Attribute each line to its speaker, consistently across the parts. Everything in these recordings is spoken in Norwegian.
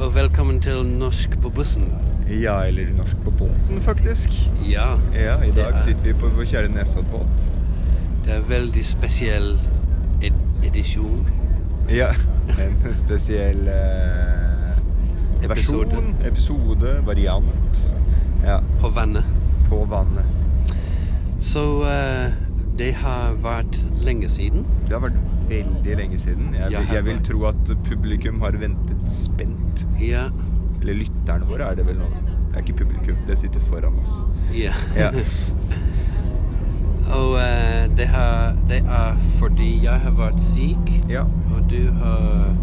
Speaker 1: og velkommen til Norsk på bussen.
Speaker 2: Ja, eller norsk på båten, faktisk.
Speaker 1: Ja,
Speaker 2: Ja, i
Speaker 1: Det
Speaker 2: dag
Speaker 1: er-
Speaker 2: sitter vi på vår kjære Nesodden-båt.
Speaker 1: det er veldig spesiell ed edisjon.
Speaker 2: Ja, en spesiell eh,
Speaker 1: Episode.
Speaker 2: versjon, episode, variant. Ja,
Speaker 1: På vannet.
Speaker 2: på vannet.
Speaker 1: Så eh, det har vært lenge siden.
Speaker 2: Det har vært veldig lenge siden. Jeg,
Speaker 1: Ja,
Speaker 2: vil- jeg vil
Speaker 1: herregud.
Speaker 2: tro at publikum har ventet spent.
Speaker 1: Ja.
Speaker 2: Eller lytterne våre er det vel nå. Det er ikke publikum, det sitter foran oss.
Speaker 1: ja.
Speaker 2: Ja,
Speaker 1: og eh, det, har, det er fordi jeg har vært syk,
Speaker 2: ja
Speaker 1: og du har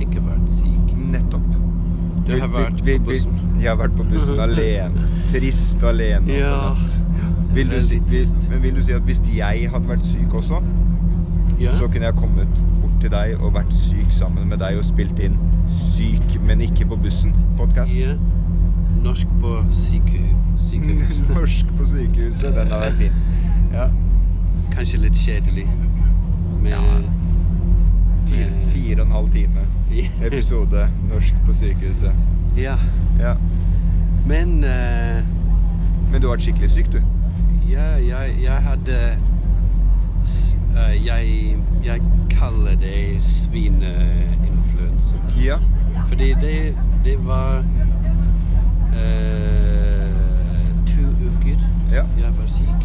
Speaker 1: ikke vært syk.
Speaker 2: nettopp.
Speaker 1: Du
Speaker 2: Vi-
Speaker 1: har
Speaker 2: vi-
Speaker 1: vært
Speaker 2: vi-
Speaker 1: på
Speaker 2: vi-
Speaker 1: bussen.
Speaker 2: Jeg har vært på bussen alene. Trist alene.
Speaker 1: Ja.
Speaker 2: Vil du, si,
Speaker 1: Veldig
Speaker 2: vil,
Speaker 1: trist.
Speaker 2: men vil du si at hvis jeg hadde vært syk også,
Speaker 1: Ja.
Speaker 2: så kunne jeg kommet bort til deg og vært syk sammen med deg og spilt inn 'Syk, men ikke på bussen'-podkast?
Speaker 1: ja. Norsk på sykehu- sykehus.
Speaker 2: Norsk på sykehuset. Den hadde vært fin. Ja.
Speaker 1: Kanskje litt kjedelig. Men eh,
Speaker 2: Fire, fire og en halv time episode norsk på sykehuset.
Speaker 1: Ja.
Speaker 2: Ja.
Speaker 1: Men eh,
Speaker 2: Men du har vært skikkelig syk, du.
Speaker 1: ja, jeg, jeg hadde s- eh, jeg, jeg kaller det svineinfluensa.
Speaker 2: Ja.
Speaker 1: Fordi det, det var eh, to uker
Speaker 2: ja.
Speaker 1: jeg var syk.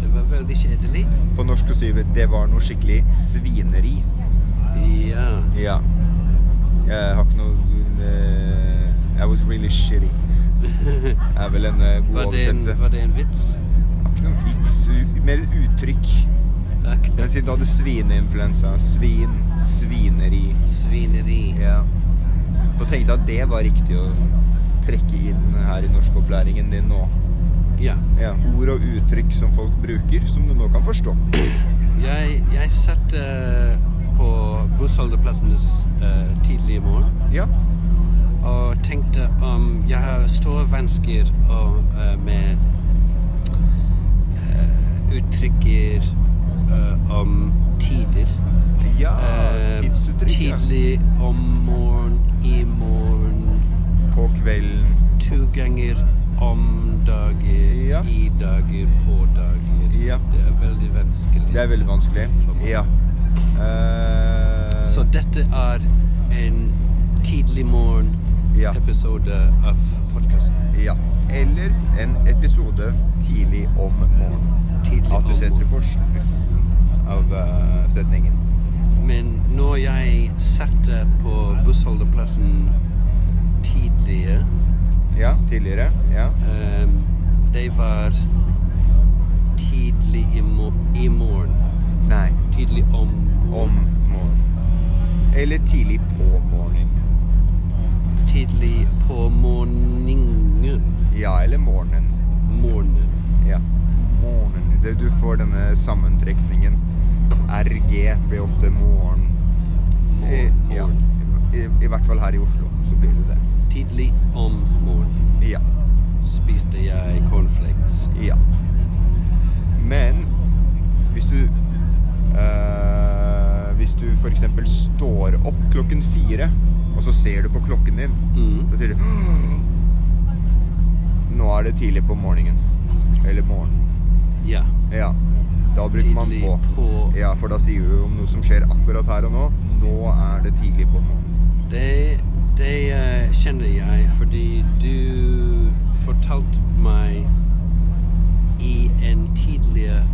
Speaker 1: Det var veldig kjedelig.
Speaker 2: På norsk så sier vi 'det var noe skikkelig svineri'.
Speaker 1: Ja.
Speaker 2: Ja. Jeg har ikke noe eh, I was really shitty. Er vel en eh, god
Speaker 1: Var det en,
Speaker 2: oversettelse.
Speaker 1: var det en vits?
Speaker 2: Har Ikke noe vits, u- mer uttrykk. Men siden du hadde svineinfluensa, svin, svineri
Speaker 1: Svineri.
Speaker 2: Ja. Så tenkte jeg at det var riktig å trekke inn her i norskopplæringen din nå.
Speaker 1: Ja.
Speaker 2: Ja. Ord og uttrykk som folk bruker, som du nå kan forstå.
Speaker 1: Jeg, jeg satt eh, på bussholdeplassen eh, tidlig i morgen.
Speaker 2: Ja.
Speaker 1: og tenkte om jeg har store vansker og, eh, med eh, uttrykker eh, om tider.
Speaker 2: Ja,
Speaker 1: Eh,
Speaker 2: tidsuttrykk. ja.
Speaker 1: tidlig om morgen, i morgen,
Speaker 2: På kvelden.
Speaker 1: to ganger om dager,
Speaker 2: Ja.
Speaker 1: i dager, på dager.
Speaker 2: Ja.
Speaker 1: Det er veldig vanskelig.
Speaker 2: Det er veldig vanskelig.
Speaker 1: For meg.
Speaker 2: Ja. Eh,
Speaker 1: Så dette er en tidlig
Speaker 2: Ja.
Speaker 1: morgen-episode av podkasten.
Speaker 2: Ja. Eller en episode tidlig om morgenen.
Speaker 1: Tidlig
Speaker 2: At
Speaker 1: om
Speaker 2: du setter
Speaker 1: morgenen.
Speaker 2: på slutten av eh, setningen.
Speaker 1: Men når jeg satte på bussholdeplassen tidligere,
Speaker 2: Ja, tidligere. Ja.
Speaker 1: ehm, det var tidlig i, mo i morgen.
Speaker 2: Nei.
Speaker 1: Tidlig om
Speaker 2: Om morgenen. Eller tidlig på morgenen.
Speaker 1: Tidlig på morgenen.
Speaker 2: Ja, eller morgenen.
Speaker 1: Morgenen.
Speaker 2: Ja. Morgenen. Det, du får denne sammentrekningen. RG blir ofte morgen. I,
Speaker 1: Mor-
Speaker 2: Eh, ja.
Speaker 1: morgen.
Speaker 2: I, I hvert fall her i Oslo, så blir det det.
Speaker 1: Tidlig om morgen
Speaker 2: Ja.
Speaker 1: spiste jeg cornflakes.
Speaker 2: Ja. Men hvis du eh, Hvis du f.eks. står opp klokken fire, og så ser du på klokken din,
Speaker 1: Mm.
Speaker 2: så sier du Nå er det tidlig på morgenen. Eller morgenen.
Speaker 1: Ja.
Speaker 2: Ja. Da bruker man
Speaker 1: Tidlig
Speaker 2: på.
Speaker 1: på
Speaker 2: Ja, for da sier du om noe som skjer akkurat her og nå. Nå er det tidlig på morgenen.
Speaker 1: Det, det eh, kjenner jeg fordi du fortalte meg i en tidligere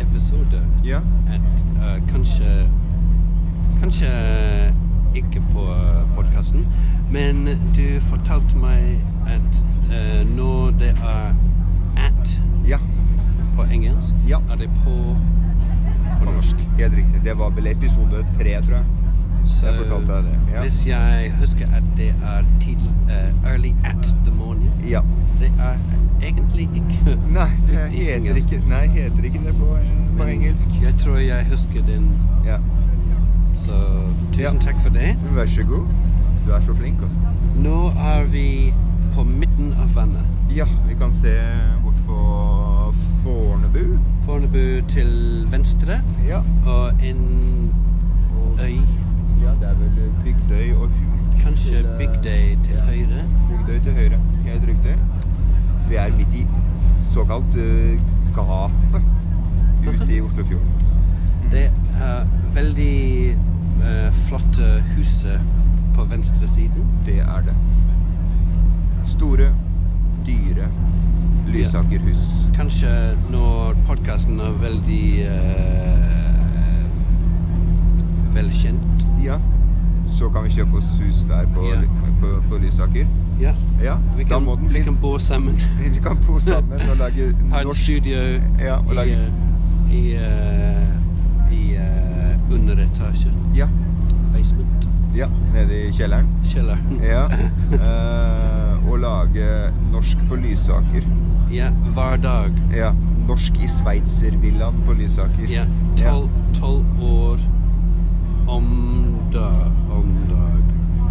Speaker 1: episode
Speaker 2: Ja.
Speaker 1: at eh, kanskje Kanskje ikke på podkasten, men du fortalte meg at eh, når det er at
Speaker 2: Ja.
Speaker 1: på engelsk,
Speaker 2: Ja.
Speaker 1: er det på
Speaker 2: På norsk. Helt riktig. Det var vel episode tre, tror jeg.
Speaker 1: Så
Speaker 2: Jeg fortalte deg det, ja.
Speaker 1: hvis jeg husker at det er tidlig, eh, early at the morning
Speaker 2: Ja.
Speaker 1: Det er egentlig ikke
Speaker 2: Nei, det
Speaker 1: Dyktig
Speaker 2: heter
Speaker 1: engelsk.
Speaker 2: ikke, nei, heter ikke det på, eh, på
Speaker 1: Men
Speaker 2: engelsk.
Speaker 1: Jeg tror jeg husker den,
Speaker 2: Ja.
Speaker 1: så tusen
Speaker 2: Ja.
Speaker 1: takk for det.
Speaker 2: Vær så god. Du er så flink, altså.
Speaker 1: Nå er vi på midten av vannet.
Speaker 2: Ja, vi kan se bort på Fornebu.
Speaker 1: Fornebu til venstre
Speaker 2: Ja.
Speaker 1: og en
Speaker 2: Og,
Speaker 1: øy
Speaker 2: ja, det er vel Bygdøy og Huk.
Speaker 1: Kanskje
Speaker 2: til, eh,
Speaker 1: Bygdøy til høyre.
Speaker 2: Bygdøy til høyre. Helt riktig. Så vi er midt i såkalt eh, gapet ute i Oslofjorden.
Speaker 1: Det er veldig eh, flotte huset på venstre siden.
Speaker 2: Det er det. Store, dyre Lysakerhus.
Speaker 1: Kanskje når podkasten er veldig eh, velkjent.
Speaker 2: Ja. Så kan vi kjøpe oss hus der på,
Speaker 1: Ja.
Speaker 2: på, på Lysaker.
Speaker 1: Ja.
Speaker 2: Ja,
Speaker 1: Vi
Speaker 2: da
Speaker 1: kan,
Speaker 2: må den
Speaker 1: vi kan
Speaker 2: bli.
Speaker 1: bo sammen.
Speaker 2: Vi kan bo sammen og lage
Speaker 1: Ha en
Speaker 2: norsk
Speaker 1: studio
Speaker 2: Ja, og
Speaker 1: i,
Speaker 2: lage-
Speaker 1: eh, i, eh, i eh, underetasje.
Speaker 2: Ja.
Speaker 1: Basement.
Speaker 2: ja. Nede i kjelleren.
Speaker 1: Kjelleren.
Speaker 2: Ja. Eh, og lage norsk på Lysaker.
Speaker 1: ja. Hver dag.
Speaker 2: Ja. Norsk i sveitservillaen på Lysaker.
Speaker 1: Ja. Tolv tolv år om dag. Om dag.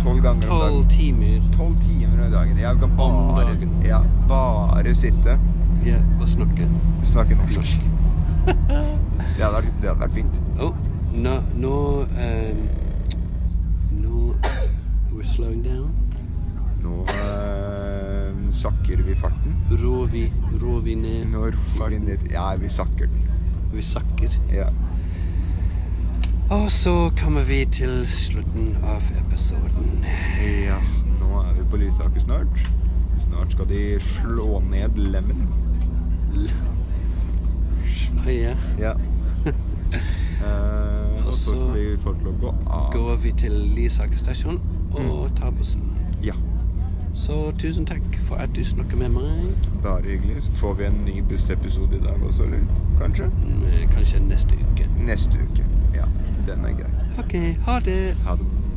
Speaker 2: Tolv ganger om
Speaker 1: Tolv
Speaker 2: dagen.
Speaker 1: timer.
Speaker 2: Tolv timer om dagen. Jeg kan
Speaker 1: Om
Speaker 2: bare,
Speaker 1: dagen.
Speaker 2: ja, bare sitte
Speaker 1: Ja, å snakke
Speaker 2: og snakke norsk.
Speaker 1: norsk.
Speaker 2: Det hadde vært, det hadde vært fint.
Speaker 1: Oh, no, no, um, no. We're slowing down.
Speaker 2: Nå eh, sakker vi farten.
Speaker 1: Rår vi, rår vi ned.
Speaker 2: Nå roer vi ned Ja, vi sakker den.
Speaker 1: Vi sakker.
Speaker 2: Ja.
Speaker 1: Og så kommer vi til slutten av episoden.
Speaker 2: ja. Nå er vi på Lysaker snart. Snart skal de slå ned Lemmen.
Speaker 1: Å ja.
Speaker 2: Ja. Eh, og så
Speaker 1: Og så-
Speaker 2: skal vi få til å gå av.
Speaker 1: Går vi til Lysaker stasjon og tar bussen.
Speaker 2: Ja.
Speaker 1: Så tusen takk for at du snakker med meg.
Speaker 2: Bare hyggelig. Så får vi en ny bussepisode i dag også, eller? Kanskje?
Speaker 1: Mm, Kanskje neste uke.
Speaker 2: Neste uke. Ja. Den er grei.
Speaker 1: OK, ha det.
Speaker 2: Ha det.